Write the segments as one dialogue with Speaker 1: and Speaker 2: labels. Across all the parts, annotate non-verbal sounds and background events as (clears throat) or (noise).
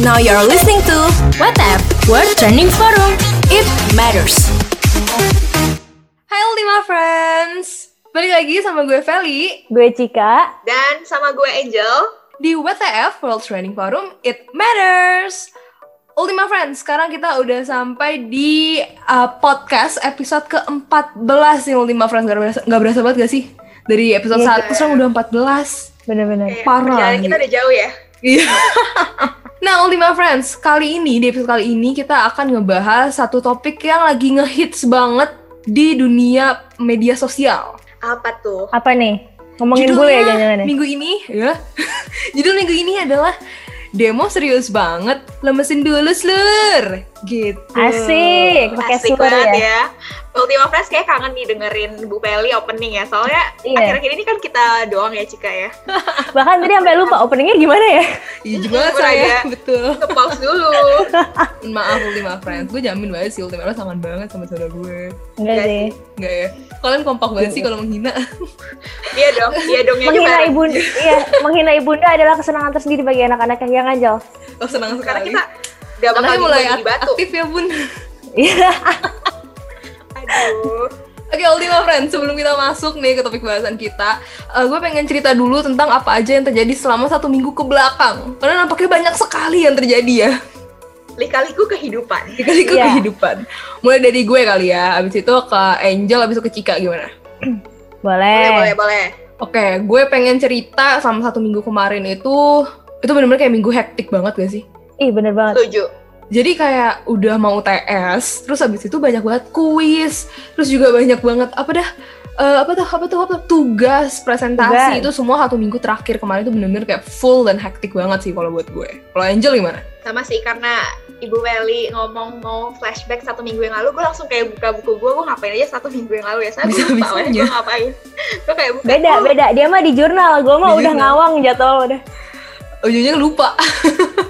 Speaker 1: Now you're listening to WhatsApp World Trending Forum. It matters.
Speaker 2: Hai Ultima Friends, balik lagi sama gue Feli
Speaker 3: Gue Cika.
Speaker 4: Dan sama gue Angel.
Speaker 2: di WTF World Training Forum It Matters. Ultima Friends, sekarang kita udah sampai di uh, podcast episode ke-14 nih Ultima Friends. Gak berasa, gak berasa banget gak sih? Dari episode
Speaker 3: Iya,
Speaker 2: 1 sekarang udah 14.
Speaker 3: Bener-bener.
Speaker 4: Kayak
Speaker 2: Parah,
Speaker 4: Perjalanan kita
Speaker 2: gitu.
Speaker 4: udah jauh ya.
Speaker 2: Iya. (laughs) nah, Ultima Friends, kali ini di episode kali ini kita akan ngebahas satu topik yang lagi ngehits banget di dunia media sosial.
Speaker 4: Apa tuh?
Speaker 3: Apa nih? Ngomongin gue ya jangan-jangan ya?
Speaker 2: minggu ini ya. (laughs) Judul minggu ini adalah demo serius banget, lemesin dulu slur. Gitu.
Speaker 3: Asik. Pakai
Speaker 4: Asik
Speaker 3: suara
Speaker 4: banget
Speaker 3: ya.
Speaker 4: ya. Ultima Fresh kayak kangen nih dengerin Bu Peli opening ya. Soalnya
Speaker 3: Iya.
Speaker 4: akhir-akhir ini kan kita doang ya Cika ya.
Speaker 3: Bahkan tadi sampai lupa openingnya gimana ya?
Speaker 2: Iya juga
Speaker 4: Kurang
Speaker 2: saya,
Speaker 4: ya.
Speaker 2: betul.
Speaker 4: Ke pause
Speaker 3: (laughs)
Speaker 4: dulu.
Speaker 2: Maaf Ultima Friends, gue jamin banget sih Ultima Friends kangen banget sama saudara gue.
Speaker 3: Enggak
Speaker 4: Enggak
Speaker 3: sih.
Speaker 2: Enggak ya? Kalian kompak banget sih kalau menghina. (laughs)
Speaker 4: Dia Iya dong, ya, dia dongnya
Speaker 3: Menghina
Speaker 4: juga.
Speaker 3: ibunda, iya, menghina ibunda adalah kesenangan tersendiri bagi iya kan, anak-anak yang ganjal.
Speaker 2: Oh senang
Speaker 4: Karena
Speaker 2: sekali.
Speaker 4: kita udah bakal
Speaker 2: Anaknya mulai
Speaker 4: di batu.
Speaker 2: aktif ya bun.
Speaker 3: Iya.
Speaker 4: Aduh.
Speaker 2: Oke Ultima Friends, sebelum kita masuk nih ke topik bahasan kita eh, Gue pengen cerita dulu tentang apa aja yang terjadi selama satu minggu ke belakang Karena nampaknya banyak sekali yang terjadi ya
Speaker 4: Lika-liku kehidupan.
Speaker 2: Dikali ke
Speaker 3: Iya.
Speaker 2: kehidupan Mulai dari gue kali ya, abis itu ke Angel, abis itu ke Cika gimana?
Speaker 4: Boleh, boleh,
Speaker 3: Boleh.
Speaker 4: boleh.
Speaker 2: Oke, gue pengen cerita selama satu minggu kemarin itu Itu bener-bener kayak minggu hektik banget gak sih?
Speaker 3: Ih, bener banget.
Speaker 4: Setuju.
Speaker 2: Jadi kayak udah mau UTS, terus habis itu banyak banget kuis, terus juga banyak banget apa dah eh, apa tuh apa tuh apa tuh, tugas presentasi
Speaker 3: Tugas.
Speaker 2: itu semua satu minggu terakhir kemarin itu bener-bener kayak full dan hektik banget sih kalau buat gue. Kalau Angel gimana?
Speaker 4: Sama sih, karena Ibu Peli ngomong mau flashback satu minggu yang lalu, gue langsung kayak buka buku gue, gue ngapain aja satu minggu yang lalu ya. Saya lupa
Speaker 2: Bisa-bisanya.
Speaker 4: lah ya, gue ngapain. Gue kayak buka,
Speaker 3: Beda,
Speaker 4: oh,
Speaker 3: beda. Dia mah di jurnal, gue mah
Speaker 2: Di
Speaker 3: udah
Speaker 2: jurnal.
Speaker 3: ngawang jadwal udah.
Speaker 2: Ujungnya lupa.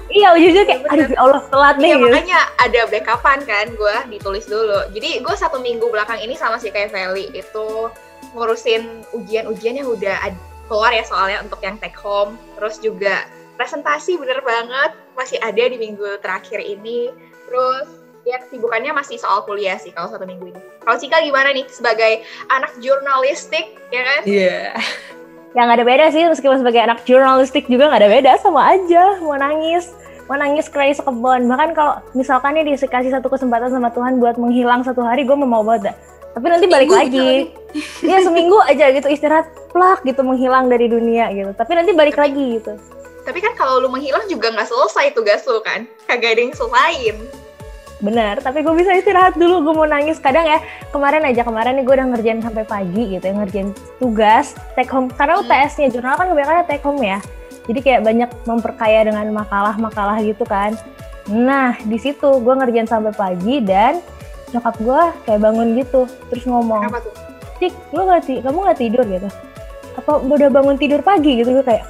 Speaker 3: Iya, ujungnya kayak, aduh ya Allah telat nih.
Speaker 4: Iya
Speaker 3: gitu.
Speaker 4: makanya ada backupan kan gue ditulis dulu. Jadi gue satu minggu belakang ini sama si kayak Feli itu ngurusin ujian-ujian yang udah ad- keluar ya soalnya untuk yang take home. Terus juga presentasi bener banget masih ada di minggu terakhir ini. Terus ya kesibukannya masih soal kuliah sih kalau satu minggu ini. Kalau Cika gimana nih sebagai anak jurnalistik ya kan?
Speaker 2: Iya.
Speaker 3: Ya nggak ada beda sih, meskipun sebagai anak jurnalistik juga nggak ada beda, sama aja. Mau nangis, mau nangis cry sekebon. Bahkan kalau misalkan nih dikasih satu kesempatan sama Tuhan buat menghilang satu hari, gue mau mau banget dah. Tapi nanti balik
Speaker 2: Seminggu
Speaker 3: lagi. Iya seminggu aja gitu istirahat plak gitu menghilang dari dunia gitu. Tapi nanti balik lagi gitu.
Speaker 4: Tapi kan kalau lu menghilang juga nggak selesai tugas lu kan? Kagak ada yang selain.
Speaker 3: Benar, tapi gue bisa istirahat dulu, gue mau nangis. Kadang ya, kemarin aja, kemarin nih gue udah ngerjain sampai pagi gitu ya, ngerjain tugas, take home. Karena UTS-nya, jurnal kan kebanyakan take home ya. Jadi kayak banyak memperkaya dengan makalah-makalah gitu kan. Nah, di situ gue ngerjain sampai pagi dan nyokap gue kayak bangun gitu, terus ngomong,
Speaker 4: Apa tuh?
Speaker 3: Cik, lu gak ti- kamu gak tidur gitu? Apa udah bangun tidur pagi gitu? Gue kayak,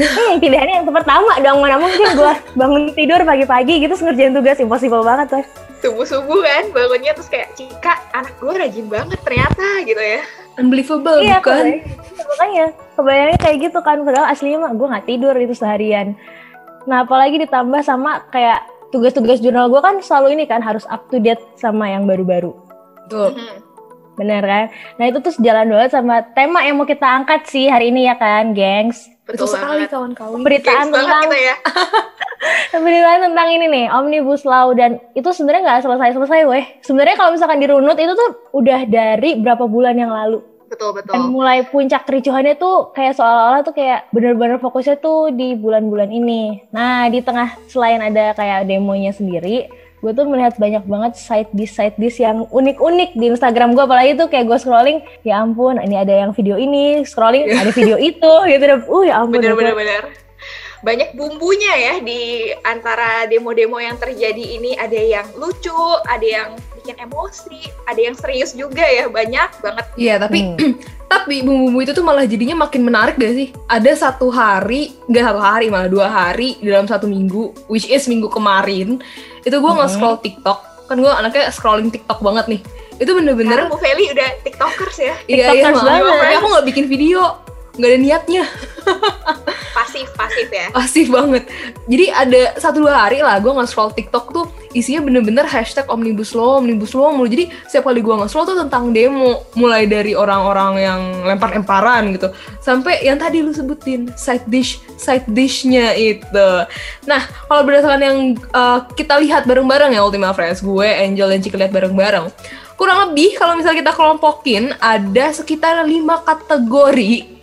Speaker 3: ini yang pilihannya yang pertama dong, mana mungkin gue bangun tidur pagi-pagi gitu, terus ngerjain tugas, impossible banget coy.
Speaker 4: subuh-subuh kan bangunnya terus kayak Cika anak gue rajin banget ternyata gitu ya
Speaker 2: Unbelievable
Speaker 3: Iya,
Speaker 2: bukan?
Speaker 3: kebayang- makanya kebayangnya kayak gitu kan padahal aslinya mah gue nggak tidur itu seharian nah apalagi ditambah sama kayak tugas-tugas jurnal gue kan selalu ini kan harus up to date sama yang baru-baru
Speaker 2: Tuh.
Speaker 4: Mhm.
Speaker 3: bener kan nah itu terus jalan banget sama tema yang mau kita angkat sih hari ini ya kan gengs
Speaker 2: Betul,
Speaker 4: betul,
Speaker 2: sekali
Speaker 4: banget
Speaker 2: kawan-kawan.
Speaker 3: pemberitaan
Speaker 4: Games banget
Speaker 3: tentang
Speaker 4: kita ya
Speaker 3: pemberitaan tentang ini nih omnibus law dan itu sebenarnya nggak selesai-selesai weh sebenarnya kalau misalkan dirunut itu tuh udah dari berapa bulan yang lalu
Speaker 4: betul
Speaker 2: Gitu.
Speaker 4: betul
Speaker 3: Dan mulai puncak kericuhannya tuh kayak seolah-olah tuh kayak bener-bener fokusnya tuh di bulan-bulan ini. Nah di tengah selain ada kayak demonya sendiri, gue tuh melihat banyak banget side dish side dish yang unik-unik di Instagram gue. Apalagi tuh kayak gue scrolling, ya ampun ini ada yang video ini, scrolling
Speaker 2: Iya.
Speaker 3: ada video itu, gitu. deh. Uh ya ampun.
Speaker 4: bener
Speaker 3: gitu.
Speaker 4: bener bener banyak bumbunya ya di antara demo-demo yang terjadi ini ada yang lucu ada yang bikin emosi ada yang serius juga ya banyak banget
Speaker 2: Iya, tapi
Speaker 3: Hmm.
Speaker 2: (clears throat) tapi bumbu-bumbu itu tuh malah jadinya makin menarik gak sih? Ada satu hari, nggak satu hari malah dua hari dalam satu minggu, which is minggu kemarin, itu gue
Speaker 3: Mhm.
Speaker 2: nge-scroll TikTok, kan gue anaknya scrolling TikTok banget nih. Itu
Speaker 4: karena
Speaker 2: bener-bener
Speaker 4: Bu Feli udah tiktokers ya
Speaker 2: iya iya
Speaker 3: TikTokers
Speaker 2: maaf.
Speaker 3: Kan banget.
Speaker 2: Tapi aku nggak bikin video, nggak ada niatnya
Speaker 4: pasif pasif ya
Speaker 2: pasif banget jadi ada satu dua hari lah gue nge-scroll TikTok tuh isinya bener-bener hashtag omnibus law omnibus law mulu jadi setiap kali gue nge-scroll tuh tentang demo mulai dari orang-orang yang lempar-lemparan gitu sampai yang tadi lu sebutin side dish side dishnya itu nah kalau berdasarkan yang uh, kita lihat bareng-bareng ya Ultima Friends gue Angel dan Cika lihat bareng-bareng kurang lebih kalau misalnya kita kelompokin ada sekitar lima kategori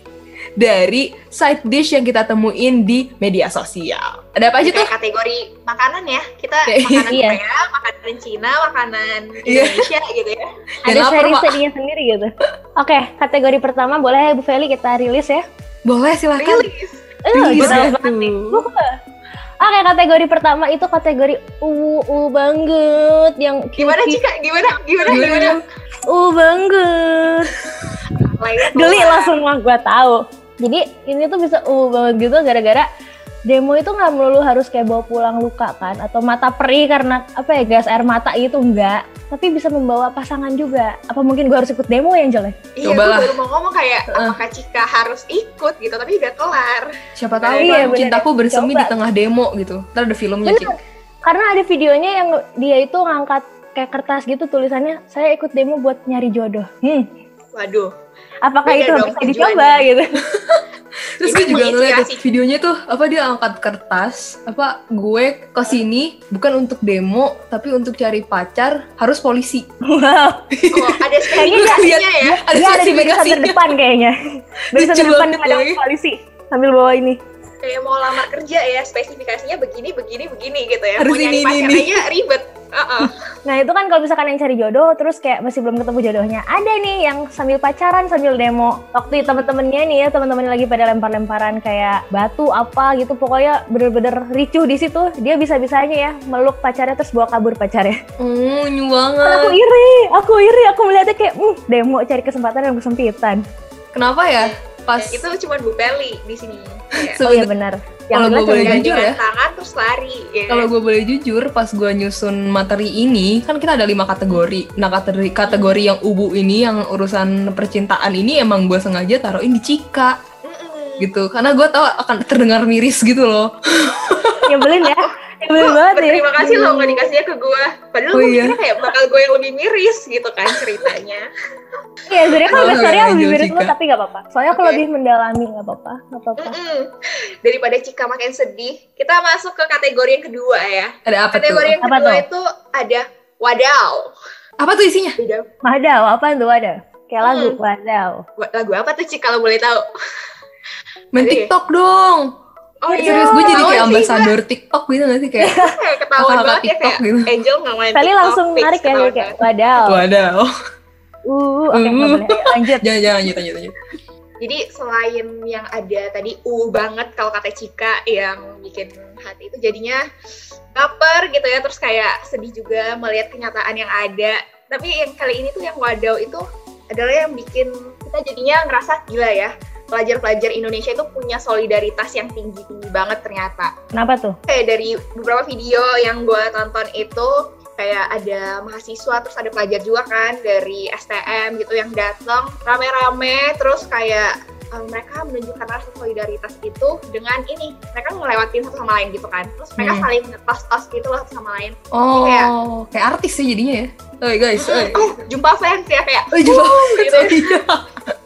Speaker 2: dari side dish yang kita temuin di media sosial. Ada apa aja tuh?
Speaker 4: kayak kategori makanan ya kita
Speaker 2: Kayak-
Speaker 4: makanan
Speaker 3: iya.
Speaker 4: Korea makanan Cina makanan
Speaker 2: Iya.
Speaker 4: Indonesia gitu ya
Speaker 2: Dan
Speaker 3: Ada
Speaker 2: lapar,
Speaker 3: seri
Speaker 2: Pak.
Speaker 3: serinya sendiri gitu. Oke, kategori pertama boleh Bu Feli kita rilis ya?
Speaker 2: Boleh
Speaker 3: Iya,
Speaker 2: silakan.
Speaker 4: rilis
Speaker 3: Eh,
Speaker 2: Rilis
Speaker 3: kita-
Speaker 2: ya.
Speaker 3: Wah. Oke, kategori pertama itu kategori u u banget yang
Speaker 4: gimana
Speaker 3: cuci.
Speaker 4: Cika gimana gimana
Speaker 2: Gimana,
Speaker 3: Iya,
Speaker 4: gimana
Speaker 3: U banget.
Speaker 4: Lainnya
Speaker 3: Geli
Speaker 4: keluar.
Speaker 3: lah semua gua tahu. Jadi ini tuh bisa uh banget gitu gara-gara demo itu nggak melulu harus kayak bawa pulang luka kan atau mata perih karena apa ya gas air mata itu enggak tapi bisa membawa pasangan juga apa mungkin gua harus ikut demo ya, yang jelek
Speaker 4: Iya,
Speaker 2: Coba
Speaker 4: gue
Speaker 2: lah.
Speaker 4: baru mau ngomong kayak apakah Cika harus ikut gitu, tapi udah kelar.
Speaker 2: Siapa tahu
Speaker 3: Iya,
Speaker 2: kan
Speaker 3: bener.
Speaker 2: cintaku bersemi
Speaker 3: Coba.
Speaker 2: di tengah demo gitu. Ntar ada filmnya
Speaker 3: Bener.
Speaker 2: Cik.
Speaker 3: karena ada videonya yang dia itu ngangkat kayak kertas gitu tulisannya saya ikut demo buat nyari jodoh hmm
Speaker 2: (laughs)
Speaker 4: Waduh,
Speaker 2: Iya
Speaker 3: apakah
Speaker 4: Beda
Speaker 3: itu
Speaker 4: dong
Speaker 3: bisa dicoba
Speaker 4: tujuannya.
Speaker 3: gitu
Speaker 2: Terus
Speaker 4: Ini
Speaker 2: gue juga ngeliat
Speaker 4: menginspirasi.
Speaker 2: tuh videonya tuh apa dia angkat kertas apa gue ke sini bukan untuk demo tapi untuk cari pacar harus polisi.
Speaker 3: wow
Speaker 4: oh, ada
Speaker 3: Kayaknya
Speaker 4: spesifikasinya
Speaker 2: Ada
Speaker 4: ya.
Speaker 3: dia Iya, ada di barisan
Speaker 2: spesifikasinya.
Speaker 3: terdepan kayaknya
Speaker 2: (laughs)
Speaker 3: barisan
Speaker 2: Lucu
Speaker 3: terdepan
Speaker 2: banget, iya.
Speaker 3: ada
Speaker 2: Boy.
Speaker 3: polisi sambil bawa ini
Speaker 4: Kayak mau lamar kerja ya, spesifikasinya begini, begini, begini gitu ya.
Speaker 2: Harus
Speaker 4: mau nyari
Speaker 2: ini, ini,
Speaker 4: pacar
Speaker 2: ini.
Speaker 4: aja ribet. Heeh.
Speaker 3: Nah itu kan kalau misalkan yang cari jodoh terus kayak masih belum ketemu jodohnya ada nih yang sambil pacaran sambil demo waktu temen-temennya nih ya temen-temen lagi pada lempar-lemparan kayak batu apa gitu pokoknya bener-bener ricuh di situ dia bisa-bisanya ya meluk pacarnya terus bawa kabur pacarnya
Speaker 2: Oh, nyu
Speaker 3: aku
Speaker 2: banget.
Speaker 3: iri aku iri aku melihatnya kayak "Hmm, demo cari kesempatan yang kesempitan
Speaker 2: Kenapa ya? Pas
Speaker 4: Ya,
Speaker 3: gitu.
Speaker 4: itu cuma Bu Peli di sini. Kayak
Speaker 3: oh iya
Speaker 2: sebenarnya
Speaker 3: benar
Speaker 2: Kalau
Speaker 3: yang
Speaker 2: gua boleh
Speaker 3: benar
Speaker 2: jujur ya.
Speaker 4: gandengan tangan terus lari. Ya.
Speaker 2: Kalau gue boleh jujur, pas gue nyusun materi ini, kan kita ada lima kategori. Nah, kategori, kategori yang ubu ini, yang urusan percintaan ini, emang gue sengaja taruhin di Cika,
Speaker 4: Mm-mm.
Speaker 2: gitu. Karena gue tahu akan terdengar miris gitu loh.
Speaker 3: nyebelin ya
Speaker 4: Gua
Speaker 3: nyebelin banget ya
Speaker 4: berterima kasih loh nggak dikasihnya ke gue. Padahal
Speaker 2: Oh,
Speaker 4: gue
Speaker 2: iya.
Speaker 4: mikirnya kayak bakal gue yang lebih miris gitu kan ceritanya.
Speaker 3: iya sebenarnya kalau
Speaker 2: Gua nggak
Speaker 3: besarnya lebih
Speaker 2: jauh,
Speaker 3: mirip lo
Speaker 2: Cika.
Speaker 3: tapi nggak apa-apa soalnya aku
Speaker 4: Oke.
Speaker 3: lebih mendalami nggak apa-apa nggak apa-apa
Speaker 4: Mm-mm. Daripada Cika makin sedih, kita masuk ke kategori yang kedua ya.
Speaker 2: Ada apa
Speaker 4: Kategori
Speaker 2: tuh?
Speaker 4: yang
Speaker 3: Apa
Speaker 4: kedua
Speaker 3: tuh?
Speaker 4: itu ada wadaw.
Speaker 2: Apa tuh isinya?
Speaker 4: Wadaw.
Speaker 3: Wadaw, apaan tuh wadaw? Kayak lagu,
Speaker 4: Hmm.
Speaker 3: wadaw.
Speaker 4: Wa- Lagu apa tuh Cik kalau boleh tahu?
Speaker 2: Main
Speaker 4: Iya.
Speaker 2: TikTok dong!
Speaker 4: Oh
Speaker 2: Serius, gue jadi kayak
Speaker 4: Ketahuan sih,
Speaker 2: ambasador TikTok gitu gak sih?
Speaker 4: (laughs)
Speaker 2: Kayak,
Speaker 4: Mbak. Kayak ketahuan
Speaker 2: Kakak-kakak
Speaker 4: banget ya
Speaker 2: TikTok
Speaker 4: kayak
Speaker 2: gitu.
Speaker 4: Angel nggak main
Speaker 3: Kali
Speaker 4: TikTok,
Speaker 3: langsung
Speaker 4: fix
Speaker 3: narik ya,
Speaker 4: ketahuan
Speaker 3: kayak
Speaker 4: banget.
Speaker 3: wadaw.
Speaker 2: wadaw.
Speaker 3: Uh, oke, nggak
Speaker 2: Uh.
Speaker 3: boleh. Ayo, lanjut.
Speaker 2: (laughs) Jangan, jangan, lanjut, lanjut, lanjut.
Speaker 4: Jadi selain yang ada tadi uh banget kalau kata Cika yang bikin hati itu jadinya baper gitu ya terus kayak sedih juga melihat kenyataan yang ada. Tapi yang kali ini tuh yang wadaw itu adalah yang bikin kita jadinya ngerasa gila ya. Pelajar-pelajar Indonesia itu punya solidaritas yang tinggi-tinggi banget ternyata.
Speaker 3: Kenapa
Speaker 4: (laughs)
Speaker 3: tuh?
Speaker 4: kayak dari beberapa video yang gue tonton itu kayak ada mahasiswa terus ada pelajar juga kan dari STM gitu yang datang rame-rame terus kayak eh, mereka menunjukkan rasa solidaritas itu dengan ini mereka ngelewatin satu sama lain gitu kan terus mereka
Speaker 2: Hmm.
Speaker 4: saling ngetos-tos gitu loh satu sama lain
Speaker 2: Oh,
Speaker 4: Kayak-
Speaker 2: kayak artis sih jadinya ya. Oi guys, Oh, oi.
Speaker 4: oh jumpa fans ya kayak
Speaker 2: Oi, coba. (laughs)
Speaker 4: gitu.
Speaker 2: Iya.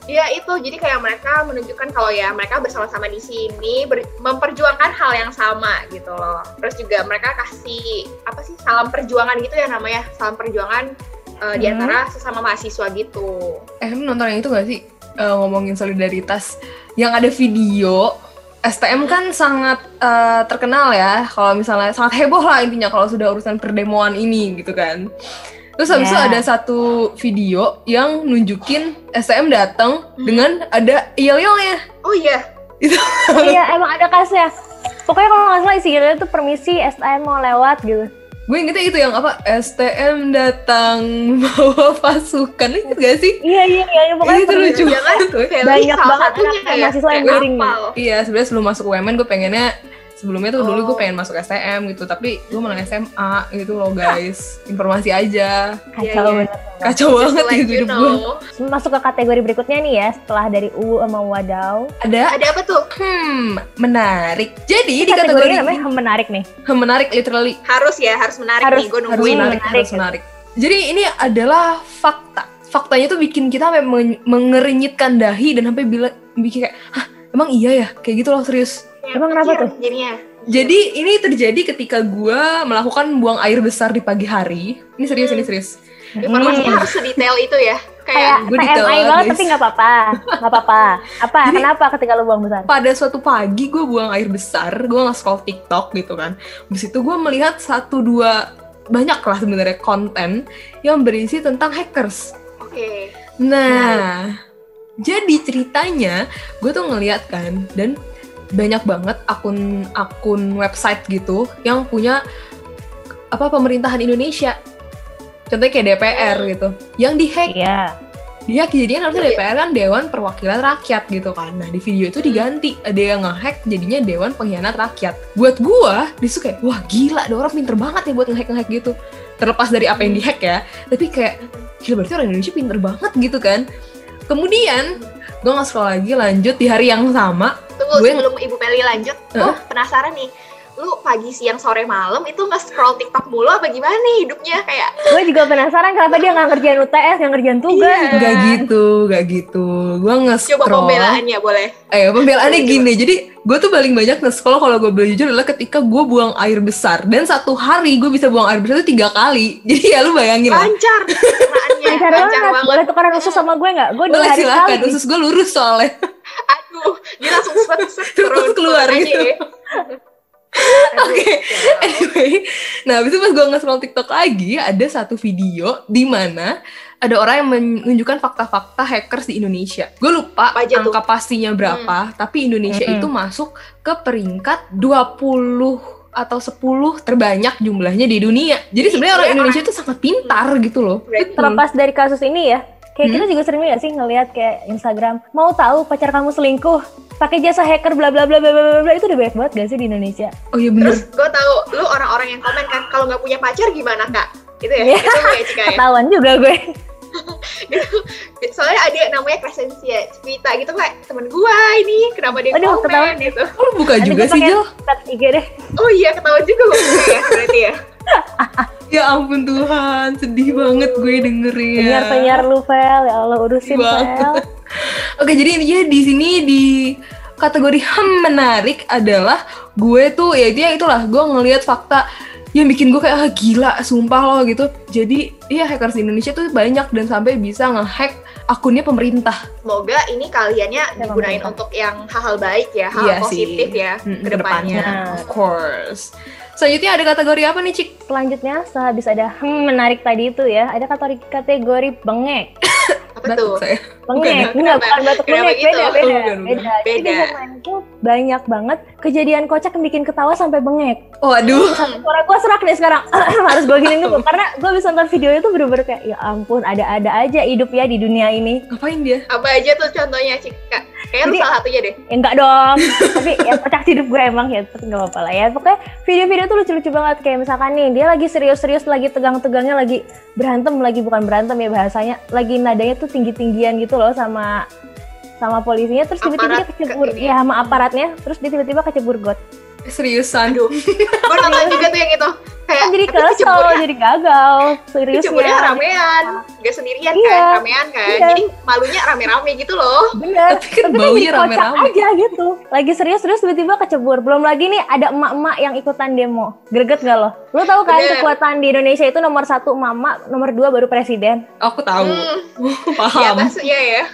Speaker 4: Iya itu jadi kayak mereka menunjukkan kalau ya mereka bersama-sama di sini ber- memperjuangkan hal yang sama gitu loh. Terus juga mereka kasih apa sih salam perjuangan gitu ya namanya salam perjuangan eh, di
Speaker 3: Hmm.
Speaker 4: antara sesama mahasiswa gitu.
Speaker 2: Eh, lu nonton yang itu gak sih? Eh, ngomongin solidaritas. Yang ada video, STM kan sangat eh, terkenal ya. Kalau misalnya, sangat heboh lah intinya kalau sudah urusan perdemoan ini gitu kan. Terus habis itu
Speaker 3: Ya.
Speaker 2: ada satu video yang nunjukin STM datang dengan ada yel-yelnya.
Speaker 4: Oh iya
Speaker 3: Iya, emang ada kasnya. Pokoknya kalau nggak salah isinya tuh permisi STM mau lewat gitu.
Speaker 2: Gue ingetnya itu yang apa? STM datang (laughs) bawa pasukan. Itu gak sih?
Speaker 3: Iya, iya, iya. iya. Pokoknya
Speaker 2: itu
Speaker 3: permisi.
Speaker 2: lucu
Speaker 4: jangan
Speaker 2: banget.
Speaker 4: Feli
Speaker 3: Banyak
Speaker 4: ya kan? salah
Speaker 3: banget
Speaker 4: satunya
Speaker 3: anak-anak
Speaker 4: ya.
Speaker 3: mahasiswa yang
Speaker 4: Kayak
Speaker 3: miring.
Speaker 4: hafal.
Speaker 2: Iya, sebenarnya sebelum masuk UMN gue pengennya sebelumnya tuh dulu gue pengen masuk STM gitu tapi gue malah SMA gitu loh guys informasi aja
Speaker 3: Kacau
Speaker 4: Iya, iya.
Speaker 3: banget.
Speaker 2: kacau
Speaker 4: Just to
Speaker 2: banget
Speaker 4: let
Speaker 2: gitu
Speaker 4: you
Speaker 2: hidup gue
Speaker 4: know.
Speaker 3: Masuk ke kategori berikutnya nih ya, setelah dari UU sama Wadaw.
Speaker 2: ada
Speaker 4: Ada apa tuh?
Speaker 2: hmm menarik jadi
Speaker 3: Ini
Speaker 2: di kategori
Speaker 3: kategorinya namanya menarik nih.
Speaker 2: Hmm, menarik literally
Speaker 4: Harus ya, harus menarik
Speaker 3: Harus-
Speaker 4: nih. Gue
Speaker 2: harus
Speaker 4: nungguin.
Speaker 2: menarik, ya.
Speaker 3: menarik.
Speaker 2: harus menarik jadi ini adalah fakta faktanya tuh bikin kita sampai men- mengernyitkan dahi dan sampai bila bikin kayak hah emang iya ya kayak gitu loh serius
Speaker 3: Emang kenapa
Speaker 4: Iya,
Speaker 3: tuh?
Speaker 4: Jadinya.
Speaker 2: Jadi ini terjadi ketika gua melakukan buang air besar di pagi hari. Ini serius, ini serius.
Speaker 4: Informasinya harus sedetail itu ya. Kayak,
Speaker 3: Hmm. Kayak
Speaker 2: Gua
Speaker 3: TMI
Speaker 2: detail
Speaker 3: banget
Speaker 2: guys.
Speaker 3: tapi nggak apa-apa, nggak apa-apa. Apa?
Speaker 2: Jadi-
Speaker 3: kenapa ketika lu buang besar?
Speaker 2: Pada suatu pagi gua buang air besar, gua nge-scroll TikTok gitu kan. Habis itu gua melihat satu dua banyak lah sebenarnya konten yang berisi tentang hackers.
Speaker 4: oke.
Speaker 2: Nah, jadi ceritanya gue tuh ngeliat kan dan banyak banget akun-akun website gitu yang punya apa pemerintahan Indonesia. Contohnya kayak DPR gitu, yang dihack.
Speaker 3: Iya.
Speaker 2: Dia kejadian harusnya DPR kan Dewan Perwakilan Rakyat gitu kan. Nah di video itu diganti, ada yang ngehack jadinya Dewan Pengkhianat Rakyat. Buat gua, disitu kayak, wah gila, ada orang pinter banget ya buat ngehack-ngehack gitu. Terlepas dari apa yang dihack ya, tapi kayak, gila berarti orang Indonesia pinter banget gitu kan. Kemudian, gua nggak scroll lagi lanjut di hari yang sama,
Speaker 4: Tunggu
Speaker 2: Gue-
Speaker 4: sebelum Ibu Peli lanjut, gue penasaran nih. Lu pagi, siang, sore, malam itu nge-scroll TikTok mulu apa gimana nih hidupnya? Kayak
Speaker 3: Gue juga penasaran kenapa dia nggak ngerjain UTS, nggak ngerjain tugas.
Speaker 4: Iya.
Speaker 2: gak gitu, gak gitu. Gua
Speaker 4: coba
Speaker 2: nge-scroll.
Speaker 4: pembelaannya boleh.
Speaker 2: Eh,
Speaker 3: Iya,
Speaker 2: pembelaannya gini, jadi gue tuh paling banyak nge-scroll kalau gue boleh jujur adalah ketika gue buang air besar. Dan satu hari gue bisa buang air besar itu tiga kali. (laughs) Jadi ya lu bayangin lah.
Speaker 4: Lancar pencernaannya,
Speaker 3: Lancar
Speaker 4: lancar
Speaker 3: banget.
Speaker 4: banget.
Speaker 3: Boleh tukeran usus sama gue nggak? Gue dua
Speaker 2: Boleh
Speaker 3: hari sekali.
Speaker 2: silahkan, usus gue lurus soalnya.
Speaker 4: Aduh, dia langsung set set
Speaker 2: Terus
Speaker 4: turun,
Speaker 2: keluar
Speaker 4: turun aja
Speaker 2: gitu.
Speaker 4: ya.
Speaker 2: (laughs) Oke. Anyway, nah abis itu pas gue nge-scroll TikTok lagi, ada satu video di mana ada orang yang menunjukkan fakta-fakta hackers di Indonesia. Gue lupa
Speaker 4: Apa aja tuh? Hmm.
Speaker 2: angka pastinya berapa, tapi Indonesia
Speaker 3: Mm-mm.
Speaker 2: itu masuk ke peringkat 20 atau 10 terbanyak jumlahnya di dunia. Jadi sebenarnya orang Indonesia itu sangat pintar
Speaker 4: Hmm.
Speaker 2: gitu loh.
Speaker 4: Berarti
Speaker 3: Terlepas dari kasus ini ya, kayak
Speaker 2: Hmm?
Speaker 3: kita juga sering nggak sih ngelihat kayak Instagram, mau tahu pacar kamu selingkuh, pakai jasa hacker bla bla bla bla bla bla, bla itu udah banyak banget gak sih di Indonesia?
Speaker 2: Oh iya
Speaker 4: Hmm. Terus
Speaker 2: bener.
Speaker 4: gue tahu lu orang-orang yang komen kan kalau nggak punya pacar gimana kak? Gitu ya,
Speaker 3: Iya.
Speaker 4: itu lu ya Cika ya.
Speaker 3: Ketahuan juga gue.
Speaker 4: Soalnya ada yang namanya Crescencia, cerita gitu kayak temen gua ini kenapa dia
Speaker 3: Aduh, ketahuan.
Speaker 4: komen gitu.
Speaker 2: Oh, lu buka
Speaker 3: Nanti
Speaker 2: juga
Speaker 3: gue
Speaker 2: sih,
Speaker 3: pakai
Speaker 2: Jel.
Speaker 3: Tat IG deh.
Speaker 4: Oh iya ketahuan juga gua ya berarti ya.
Speaker 2: Ya ampun Tuhan, sedih banget gue dengerin.
Speaker 3: Penyiar-penyiar lu, Vel. Ya Allah, urusin,
Speaker 2: Bang.
Speaker 3: Vel.
Speaker 2: Oke, jadi intinya di sini di kategori ham menarik adalah gue tuh ya dia itulah gue ngelihat fakta yang bikin gue kayak ah, gila sumpah loh gitu. Jadi iya hackers di Indonesia tuh banyak dan sampai bisa ngehack akunnya pemerintah.
Speaker 4: Semoga ini kaliannya digunain
Speaker 3: pemerintah.
Speaker 4: untuk yang hal-hal baik ya, hal
Speaker 2: Iya sih.
Speaker 4: positif ya
Speaker 2: Mm,
Speaker 4: ke depannya.
Speaker 3: kedepannya.
Speaker 2: Of course. Selanjutnya ada kategori apa nih, Cik?
Speaker 3: Selanjutnya, sehabis ada hmm, menarik tadi itu ya, ada kategori kategori bengek.
Speaker 4: Apa
Speaker 2: Batuk
Speaker 4: tuh?
Speaker 2: saya.
Speaker 3: Bengek,
Speaker 4: Bukan,
Speaker 3: enggak,
Speaker 4: kenapa?
Speaker 3: bukan batuk
Speaker 4: Kenapa
Speaker 3: bengek,
Speaker 4: gitu?
Speaker 3: beda, beda,
Speaker 2: Bukan, bukan.
Speaker 3: beda. Jadi
Speaker 4: Beda.
Speaker 3: di zaman itu banyak banget kejadian kocak yang bikin ketawa sampai bengek.
Speaker 2: Waduh.
Speaker 4: Hmm,
Speaker 3: Suara gue serak nih sekarang, (clears throat) harus gue gini dulu. Karena gue bisa nonton video itu bener-bener kayak, ya ampun, ada-ada aja hidup ya di dunia ini.
Speaker 2: Ngapain dia?
Speaker 4: apa aja tuh contohnya Cika? Kayaknya lu
Speaker 3: Jadi-
Speaker 4: salah satunya deh.
Speaker 3: Ya enggak dong, (laughs) tapi ya kocak hidup gue emang ya, tapi nggak apa-apa lah ya. Pokoknya video-video tuh lucu-lucu banget, kayak misalkan nih, dia lagi serius-serius, lagi tegang-tegangnya, lagi berantem, lagi bukan berantem ya bahasanya, lagi nadanya tuh tinggi-tinggian gitu loh sama sama polisinya, terus tiba-tiba dia
Speaker 4: Aparat ke-
Speaker 3: kecebur,
Speaker 4: ini. Iya,
Speaker 3: ya sama aparatnya, terus dia tiba-tiba kecebur got.
Speaker 2: Seriusan.
Speaker 4: Aduh, gua nonton juga tuh yang itu. Kayak
Speaker 3: Kan Jadi
Speaker 4: tapi ya?
Speaker 3: kesel, ya,
Speaker 4: kecemburuan-
Speaker 3: jadi gagal,
Speaker 4: ya
Speaker 3: seriusnya.
Speaker 4: kecemburuannya ramean, gak sendirian
Speaker 3: Iya.
Speaker 4: kan, ramean kan.
Speaker 3: Iya.
Speaker 4: Jadi malunya rame-rame gitu loh.
Speaker 3: Bener,
Speaker 2: Tapi kan
Speaker 3: dia
Speaker 2: baunya
Speaker 3: jadi kocak
Speaker 2: rame-rame.
Speaker 3: aja gitu. Lagi serius-serius tiba-tiba kecebur. Belum lagi nih ada emak-emak yang ikutan demo. Greget gak lo? Lo tau kan
Speaker 4: Bener.
Speaker 3: kekuatan di Indonesia itu nomor satu emak-emak, nomor dua baru presiden.
Speaker 2: Aku tahu.
Speaker 4: Hmm, di
Speaker 2: Paham. (laughs)
Speaker 4: atasnya ya.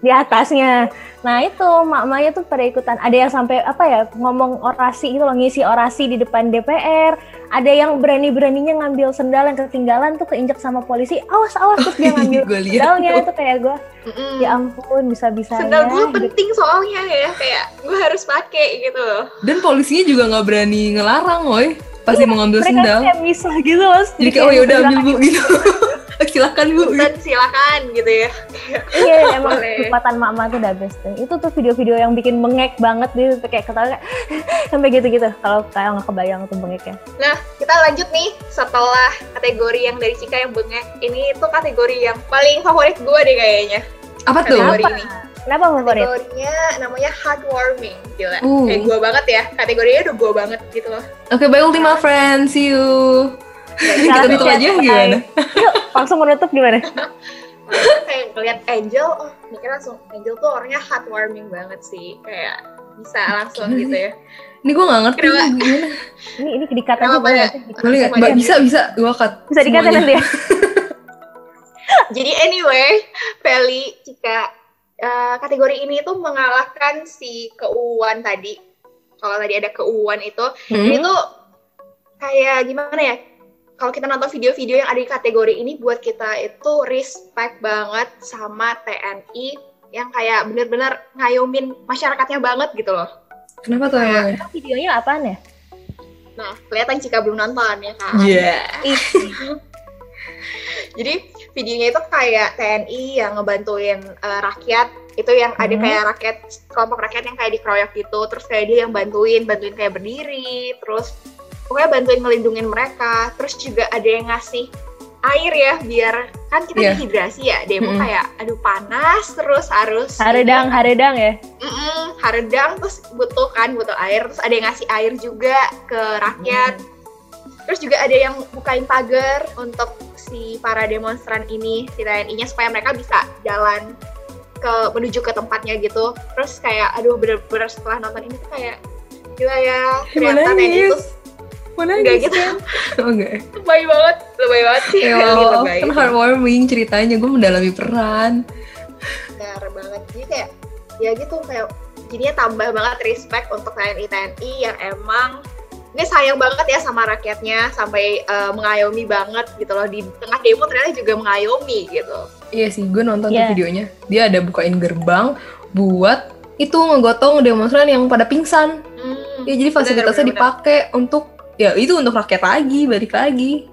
Speaker 3: Di atasnya. Nah itu emak-emaknya tuh pada ikutan. Ada yang sampai apa ya ngomong orasi gitu loh, ngisi orasi di depan DPR. Ada yang berani-beraninya ngambil sendal yang ketinggalan tuh keinjek sama polisi. Awas, awas terus dia
Speaker 2: (laughs)
Speaker 3: ngambil
Speaker 2: Gue lihat.
Speaker 3: sendalnya itu kayak gue.
Speaker 4: Mm-mm.
Speaker 3: Ya ampun bisa-bisanya. Gitu.
Speaker 4: Sendal gue
Speaker 3: hidup
Speaker 4: penting soalnya ya, kayak gue harus pakai gitu loh.
Speaker 2: Dan polisinya juga nggak berani ngelarang, woi. Pasti mau ngambil
Speaker 3: mereka tuh
Speaker 2: sendal.
Speaker 3: kayak misah gitu loh
Speaker 2: oh, ya
Speaker 3: (laughs)
Speaker 2: Jadi kayak, oh yaudah ambil bu gitu. (laughs) silakan bu
Speaker 4: Dan silakan gitu ya.
Speaker 3: Iya emang
Speaker 4: Boleh.
Speaker 3: kekuatan mama tuh udah best tuh. Itu tuh video-video yang bikin mengek banget dia tuh kayak ketawa kayak (laughs) sampai gitu-gitu. Kalau kayak nggak kebayang tuh mengeknya.
Speaker 4: Kita lanjut nih setelah kategori yang dari Cika yang bengek. Ini itu kategori yang paling favorit gue deh kayaknya.
Speaker 2: apa tuh
Speaker 4: Kategori ini.
Speaker 3: Kenapa favorit?
Speaker 4: Kategorinya namanya heartwarming. Gila.
Speaker 2: Uh.
Speaker 4: Kayak gue banget ya. Kategorinya udah gue banget gitu
Speaker 2: (laughs)
Speaker 4: loh.
Speaker 2: oke bye Ultima Friends see you kita
Speaker 3: Salam
Speaker 2: tutup
Speaker 3: ya,
Speaker 2: aja
Speaker 3: bye.
Speaker 2: gimana
Speaker 3: Yuk, langsung menutup gimana?
Speaker 4: kayak ngeliat Angel, oh mikir langsung Angel tuh orangnya heartwarming banget sih. Kayak bisa langsung gitu
Speaker 2: (laughs)
Speaker 4: ya.
Speaker 2: ini gue nggak ngerti
Speaker 4: Kenapa?
Speaker 2: gimana
Speaker 3: Ini ini dikat aja
Speaker 4: Kenapa
Speaker 3: boleh
Speaker 4: ya?
Speaker 3: nggak sih?
Speaker 2: boleh nggak Mbak, bisa bisa gue cut
Speaker 3: Bisa dikata
Speaker 2: semuanya.
Speaker 3: nanti ya.
Speaker 4: Jadi anyway, Feli, Cika, eh, kategori ini tuh mengalahkan si keuuan tadi. Kalau tadi ada keuuan itu,
Speaker 2: Hmm?
Speaker 4: ini tuh kayak gimana ya? Kalau kita nonton video-video yang ada di kategori ini buat kita itu respect banget sama TNI yang kayak bener-bener ngayomin masyarakatnya banget gitu loh.
Speaker 2: kenapa tuh emangnya
Speaker 3: Videonya apaan ya?
Speaker 4: Nah, kelihatan Cika belum nonton ya kan?
Speaker 2: Iya.
Speaker 4: (laughs) Jadi videonya itu kayak TNI yang ngebantuin eh, rakyat itu yang ada
Speaker 3: Hmm.
Speaker 4: kayak rakyat kelompok rakyat yang kayak dikeroyok gitu terus kayak dia yang bantuin bantuin kayak berdiri terus pokoknya bantuin ngelindungin mereka terus juga ada yang ngasih air ya biar kan kita
Speaker 2: Iya.
Speaker 4: dehidrasi ya demo
Speaker 2: Mm-mm.
Speaker 4: kayak aduh panas terus harus
Speaker 3: Haredang, haredang ya.
Speaker 4: Mm-mm, haredang terus butuh kan butuh air terus ada yang ngasih air juga ke rakyat terus juga ada yang bukain pagar untuk si para demonstran ini si TNI-nya supaya mereka bisa jalan ke menuju ke tempatnya gitu terus kayak aduh bener-bener setelah nonton ini tuh kayak gila ya ternyata TNI itu
Speaker 2: nangis mana
Speaker 4: gitu? enggak gitu Iya,
Speaker 2: oh enggak
Speaker 4: (laughs) lebay banget lebay banget sih
Speaker 2: ya
Speaker 4: Feli,
Speaker 2: Allah,
Speaker 4: lebay.
Speaker 2: kan heartwarming ceritanya gue mendalami peran
Speaker 4: benar banget jadi kayak ya gitu kayak jadinya tambah banget respect untuk TNI TNI yang emang ini sayang banget ya sama rakyatnya sampai eh, mengayomi banget gitu loh di tengah demo ternyata juga mengayomi gitu
Speaker 2: Iya sih, gue nonton
Speaker 3: Iya.
Speaker 2: tuh videonya. Dia ada bukain gerbang buat itu ngegotong demonstran yang pada pingsan.
Speaker 4: Hmm,
Speaker 2: Ya jadi fasilitasnya
Speaker 4: Bener, bener,
Speaker 2: dipakai untuk ya itu untuk rakyat lagi, balik lagi.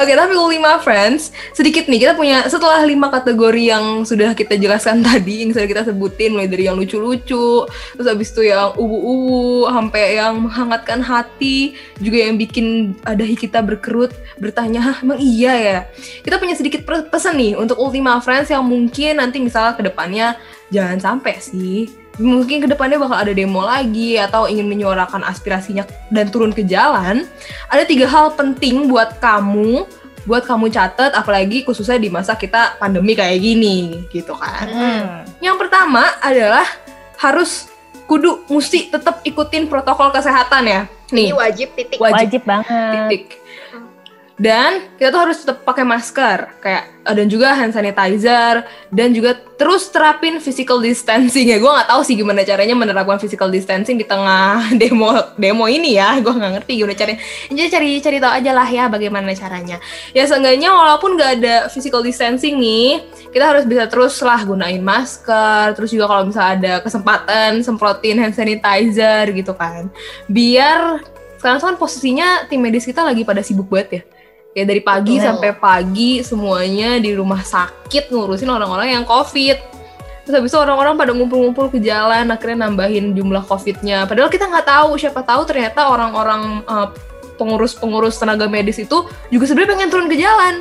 Speaker 2: Oke, tapi lima friends, sedikit nih kita punya setelah lima kategori yang sudah kita jelaskan (laughs) tadi, yang sudah kita sebutin mulai dari yang lucu-lucu, terus abis itu yang ubu-ubu, sampai yang menghangatkan hati, juga yang bikin ah, dahi kita berkerut, bertanya, "Hah, emang iya ya?" kita punya sedikit per- pesan nih untuk Ultima Friends yang mungkin nanti misalnya kedepannya jangan sampai sih mungkin kedepannya bakal ada demo lagi atau ingin menyuarakan aspirasinya dan turun ke jalan ada tiga hal penting buat kamu buat kamu catat apalagi khususnya di masa kita pandemi kayak gini gitu kan yang pertama adalah harus kudu mesti tetap ikutin protokol kesehatan ya nih
Speaker 4: ini wajib titik
Speaker 2: Wajib. Iya.
Speaker 3: Wajib banget.
Speaker 2: titik. Hmm. Dan kita tuh harus tetap pakai masker, kayak eh, dan juga hand sanitizer dan juga terus terapin physical distancing ya. Gue nggak tahu sih gimana caranya menerapkan physical distancing di tengah (laughs) demo demo ini ya. Gue nggak ngerti gimana caranya. Jadi cari cari tahu aja lah ya bagaimana caranya. Ya seenggaknya walaupun nggak ada physical distancing nih, kita harus bisa terus lah gunain masker. Terus juga kalau misalnya ada kesempatan semprotin hand sanitizer gitu kan, biar sekarang tuh kan posisinya tim medis kita lagi pada sibuk banget ya ya dari pagi
Speaker 4: Betul.
Speaker 2: sampai pagi semuanya di rumah sakit ngurusin orang-orang yang covid terus habis itu orang-orang pada ngumpul-ngumpul ke jalan akhirnya nambahin jumlah covidnya padahal kita nggak tahu siapa tahu ternyata orang-orang eh, pengurus-pengurus tenaga medis itu juga sebenarnya pengen turun ke jalan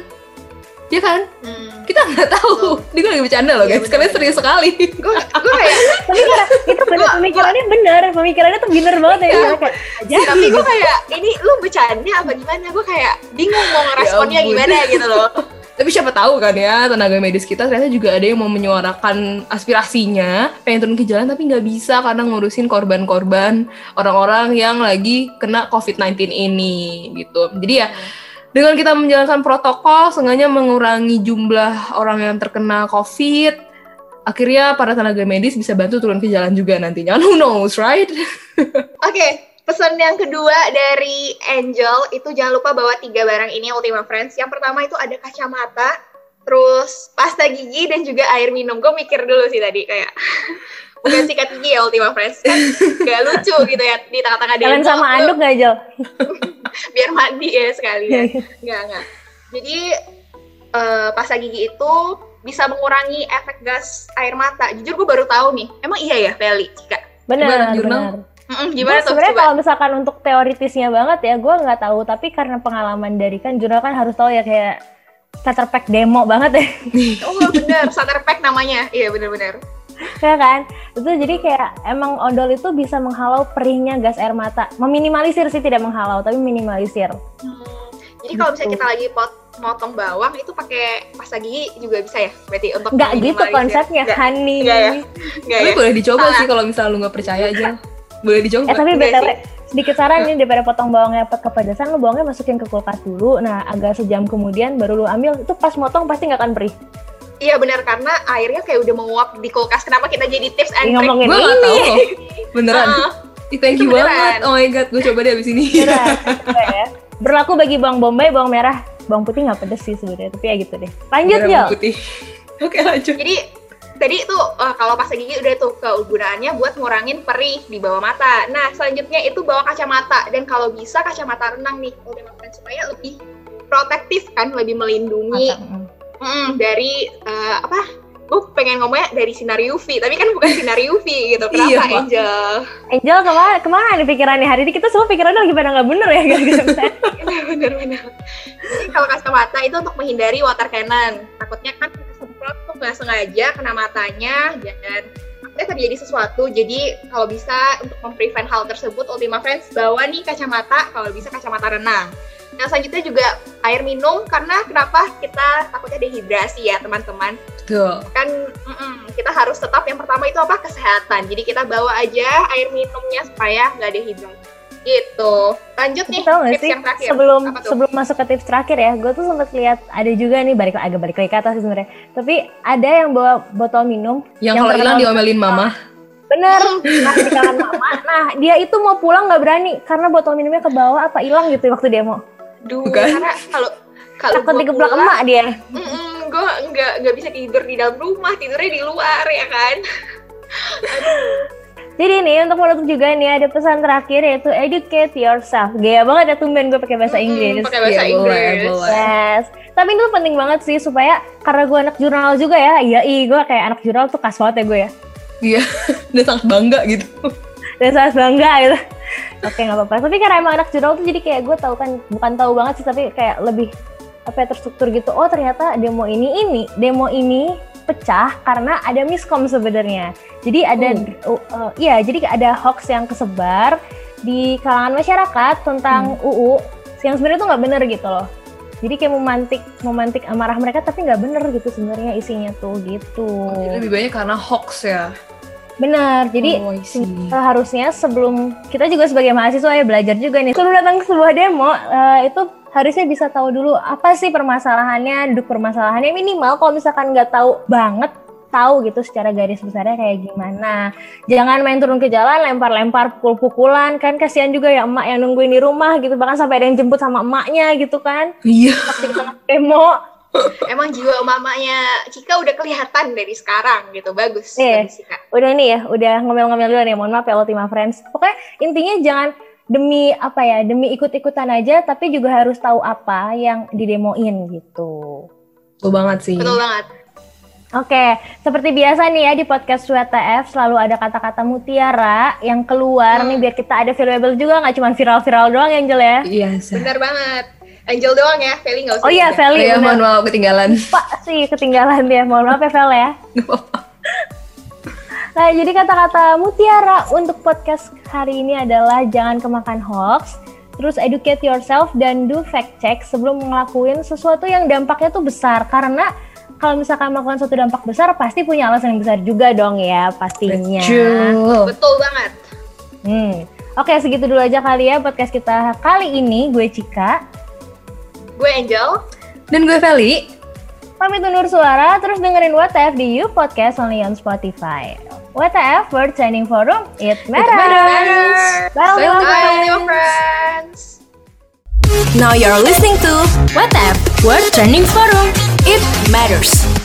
Speaker 2: ya kan
Speaker 4: Hmm.
Speaker 2: kita nggak tahu ini gue lagi bercanda loh
Speaker 4: Iya,
Speaker 2: guys
Speaker 4: bener.
Speaker 2: kalian serius sekali (laughs)
Speaker 4: gue gue kayak
Speaker 3: Tapi kayak itu bener,
Speaker 2: Iya.
Speaker 3: pemikirannya bener, pemikirannya tuh bener banget ya.
Speaker 4: Iya.
Speaker 3: Kayak,
Speaker 4: tapi gue kayak ini lu bercanda apa gimana gue kayak bingung mau ngeresponnya
Speaker 2: ampun.
Speaker 4: gimana gitu loh
Speaker 2: Tapi siapa tahu kan ya tenaga medis kita ternyata juga ada yang mau menyuarakan aspirasinya, pengen turun ke jalan tapi nggak bisa karena ngurusin korban-korban orang-orang yang lagi kena COVID-19 ini gitu. Jadi ya dengan kita menjalankan protokol, seenggaknya mengurangi jumlah orang yang terkena COVID, akhirnya para tenaga medis bisa bantu turun ke jalan juga nantinya. (laughs) Who knows, right?
Speaker 4: Oke, pesan yang kedua dari Angel itu jangan lupa bawa tiga barang ini Ultima Friends. Yang pertama itu ada kacamata, terus pasta gigi dan juga air minum. Gue mikir dulu sih tadi kayak (laughs) bukan sikat gigi ya Ultima Friends kan gak lucu gitu ya di tengah-tengah
Speaker 3: Kalian
Speaker 4: demo.
Speaker 3: sama
Speaker 4: Lu
Speaker 3: anduk gak, Jel?
Speaker 4: biar mandi ya sekali.
Speaker 3: Iya,
Speaker 4: ya.
Speaker 3: iya.
Speaker 4: Enggak, enggak. Jadi eh, pasta gigi itu bisa mengurangi efek gas air mata. Jujur gue baru tahu nih. Emang iya ya, Feli? Cika?
Speaker 2: Gimana,
Speaker 3: Benar,
Speaker 2: jurnal?
Speaker 3: benar.
Speaker 4: Mm-mm,
Speaker 3: Gua
Speaker 4: gimana tuh?
Speaker 3: sebenarnya
Speaker 4: Coba.
Speaker 3: kalau misalkan untuk teoritisnya banget ya, gue nggak tahu. Tapi karena pengalaman dari kan jurnal kan harus tahu ya kayak starter pack demo banget ya, (laughs)
Speaker 4: Oh bener, starter pack namanya. Iya bener-bener.
Speaker 3: ya kan? Itu jadi kayak emang ondol itu bisa menghalau perihnya gas air mata. Meminimalisir sih tidak menghalau, tapi minimalisir.
Speaker 4: Hmm, Jadi kalau misalnya kita lagi pot motong bawang itu pakai pasta gigi juga bisa ya? Berarti untuk
Speaker 3: Nggak gitu
Speaker 4: minimalisir.
Speaker 3: konsepnya,
Speaker 4: Nggak,
Speaker 3: honey.
Speaker 4: nggak ya? nggak
Speaker 2: Tapi
Speaker 4: ya?
Speaker 2: boleh dicoba
Speaker 4: Salah.
Speaker 2: sih kalau misalnya lu nggak percaya aja. Boleh dicoba.
Speaker 3: Eh tapi
Speaker 4: Enggak
Speaker 3: BTW, sedikit saran nih daripada potong bawangnya ke kepedesan, lu bawangnya masukin ke kulkas dulu. Nah, agak sejam kemudian baru lu ambil. Itu pas motong pasti nggak akan perih.
Speaker 4: Iya benar karena airnya kayak udah menguap di kulkas. Kenapa kita jadi tips and trick?
Speaker 3: Ini ngomongin
Speaker 2: Gue
Speaker 3: ini.
Speaker 2: nggak tahu loh. (laughs) Beneran.
Speaker 4: Heeh.
Speaker 2: Ih, thank
Speaker 4: Ah, Itu
Speaker 2: you
Speaker 4: beneran.
Speaker 2: banget. Oh my god, gue coba deh abis ini.
Speaker 4: Iya.
Speaker 3: Beneran, coba ya. Berlaku bagi bawang bombay, bawang merah, bawang putih nggak pedes sih sebenarnya. Tapi ya gitu deh.
Speaker 2: (laughs)
Speaker 3: Lanjut
Speaker 2: Merah
Speaker 3: yuk.
Speaker 2: putih. Oke lanjut.
Speaker 4: Jadi tadi itu eh, kalau pasta gigi udah tuh kegunaannya buat ngurangin perih di bawah mata. Nah selanjutnya itu bawa kacamata dan kalau bisa kacamata renang nih kalau memang keren, supaya lebih protektif kan, lebih melindungi mm, dari eh, apa? Gue pengen ngomongnya dari sinar UV, tapi kan bukan sinar UV
Speaker 2: (laughs)
Speaker 4: gitu. Kenapa
Speaker 2: Iya, Pak.
Speaker 4: Angel?
Speaker 3: Angel kemana, kemana nih pikirannya hari ini? Kita semua pikirannya lagi pada nggak bener ya.
Speaker 4: (laughs)
Speaker 3: gara-gara pesan.
Speaker 2: Iya,
Speaker 4: Bener-bener. Jadi kalau kacamata itu untuk menghindari water cannon. Takutnya kan kita semprot tuh nggak sengaja kena matanya dan takutnya terjadi sesuatu. Jadi kalau bisa untuk memprevent hal tersebut, Ultima Friends bawa nih kacamata. Kalau bisa kacamata renang. Yang selanjutnya juga air minum karena kenapa kita takutnya dehidrasi ya teman-teman
Speaker 2: Betul.
Speaker 4: kan mm-mm, kita harus tetap yang pertama itu apa kesehatan jadi kita bawa aja air minumnya supaya nggak dehidrasi gitu lanjut
Speaker 3: Tapi
Speaker 4: nih
Speaker 3: Tahu nggak
Speaker 4: tips
Speaker 3: sih
Speaker 4: yang terakhir
Speaker 3: sebelum
Speaker 4: Apa tuh?
Speaker 3: sebelum masuk ke tips terakhir ya, gue tuh sempat lihat ada juga nih balik agak balik lagi ke atas sih sebenarnya. Tapi ada yang bawa botol minum
Speaker 2: Yang,
Speaker 3: Yang
Speaker 2: kalau hilang
Speaker 3: pertama-
Speaker 2: diomelin mama. (laughs)
Speaker 3: Bener,
Speaker 4: Hmm.
Speaker 3: nah, di kalangan mama. Nah, dia itu mau pulang nggak berani karena botol minumnya ke bawah apa hilang gitu waktu demo.
Speaker 4: Duh,
Speaker 2: Bukan.
Speaker 4: karena kalau kalau
Speaker 3: Takut
Speaker 4: gua
Speaker 3: digeblak
Speaker 4: pulang,
Speaker 3: emak dia.
Speaker 4: mm-mm, gua nggak nggak bisa tidur di dalam rumah, tidurnya di luar ya kan.
Speaker 3: Jadi nih untuk menutup juga nih ada pesan terakhir yaitu educate yourself. Gaya banget ya tumben gue pakai bahasa
Speaker 4: Mm-mm,
Speaker 3: Inggris.
Speaker 4: Pakai bahasa
Speaker 2: Iya, boleh,
Speaker 4: Inggris.
Speaker 2: boleh.
Speaker 3: Yes. Tapi itu penting banget sih supaya karena gue anak jurnal juga ya. Iya, iya gue kayak anak jurnal tuh khas banget ya gue ya.
Speaker 2: Iya. Dia sangat bangga gitu.
Speaker 3: dan sangat bangga gitu. Oke nggak apa-apa. Tapi karena emang anak jurnal tuh jadi kayak gue tahu kan bukan tahu banget sih tapi kayak lebih apa ya, terstruktur gitu. Oh ternyata demo ini ini demo ini pecah karena ada miskom sebenarnya. Jadi ada
Speaker 2: Hmm.
Speaker 3: u- uh, iya jadi ada hoax yang kesebar di kalangan masyarakat
Speaker 2: Hmm.
Speaker 3: tentang UU yang sebenarnya tuh nggak bener gitu loh. Jadi kayak memantik memantik amarah mereka tapi nggak bener gitu sebenarnya isinya tuh gitu.
Speaker 2: Oh, Jadi Lebih banyak karena hoax ya.
Speaker 3: Bener. Jadi
Speaker 2: Oh, I see.
Speaker 3: Eh, harusnya sebelum kita juga sebagai mahasiswa ya belajar juga nih sebelum datang ke sebuah demo eh, itu harusnya bisa tahu dulu apa sih permasalahannya duduk permasalahannya minimal kalau misalkan nggak tahu banget tahu gitu secara garis besarnya kayak gimana jangan main turun ke jalan lempar-lempar pukul-pukulan kan kasihan juga ya emak yang nungguin di rumah gitu bahkan sampai ada yang jemput sama emaknya gitu kan
Speaker 2: Iya.
Speaker 3: waktu di tengah demo
Speaker 4: Emang jiwa mamanya Cika udah kelihatan dari sekarang gitu, bagus.
Speaker 3: Iya.
Speaker 4: bagus, Cika.
Speaker 3: udah nih ya, udah ngomel-ngomel dulu nih. Mohon maaf ya Ultima Friends. Pokoknya intinya jangan demi apa ya, demi ikut-ikutan aja, tapi juga harus tahu apa yang didemoin gitu.
Speaker 2: Betul banget sih.
Speaker 4: Betul banget.
Speaker 3: Oke, seperti biasa nih ya di podcast WTF selalu ada kata-kata mutiara yang keluar
Speaker 4: Hmm.
Speaker 3: nih biar kita ada valuable juga, nggak cuma viral-viral doang Angel ya.
Speaker 2: Iya. Sa.
Speaker 4: Benar banget. Angel doang ya, Feli nggak usah.
Speaker 3: Oh iya,
Speaker 4: Angel.
Speaker 3: Feli,
Speaker 2: Iya,
Speaker 3: bener.
Speaker 2: mohon maaf ketinggalan.
Speaker 3: lupa sih ketinggalan dia. Mohon maaf ya Vel ya.
Speaker 2: Nggak apa-apa.
Speaker 3: Nah, jadi kata-kata mutiara untuk podcast hari ini adalah jangan kemakan hoax, terus educate yourself dan do fact check sebelum ngelakuin sesuatu yang dampaknya tuh besar karena kalau misalkan melakukan suatu dampak besar pasti punya alasan yang besar juga dong ya pastinya.
Speaker 2: Betul.
Speaker 4: Betul banget.
Speaker 3: Hmm. Oke, segitu dulu aja kali ya podcast kita kali ini. Gue Cika,
Speaker 4: Gue Angel.
Speaker 2: Dan gue Feli.
Speaker 3: pamit undur suara, terus dengerin WTF di You Podcast only on Spotify. WTF World Training Forum, it matters.
Speaker 2: matters.
Speaker 3: Bye,
Speaker 2: Bye,
Speaker 3: Ultima
Speaker 4: Bye,
Speaker 3: friends.
Speaker 4: Leo friends.
Speaker 1: Now you're listening to WhatsApp World Trending Forum. It matters.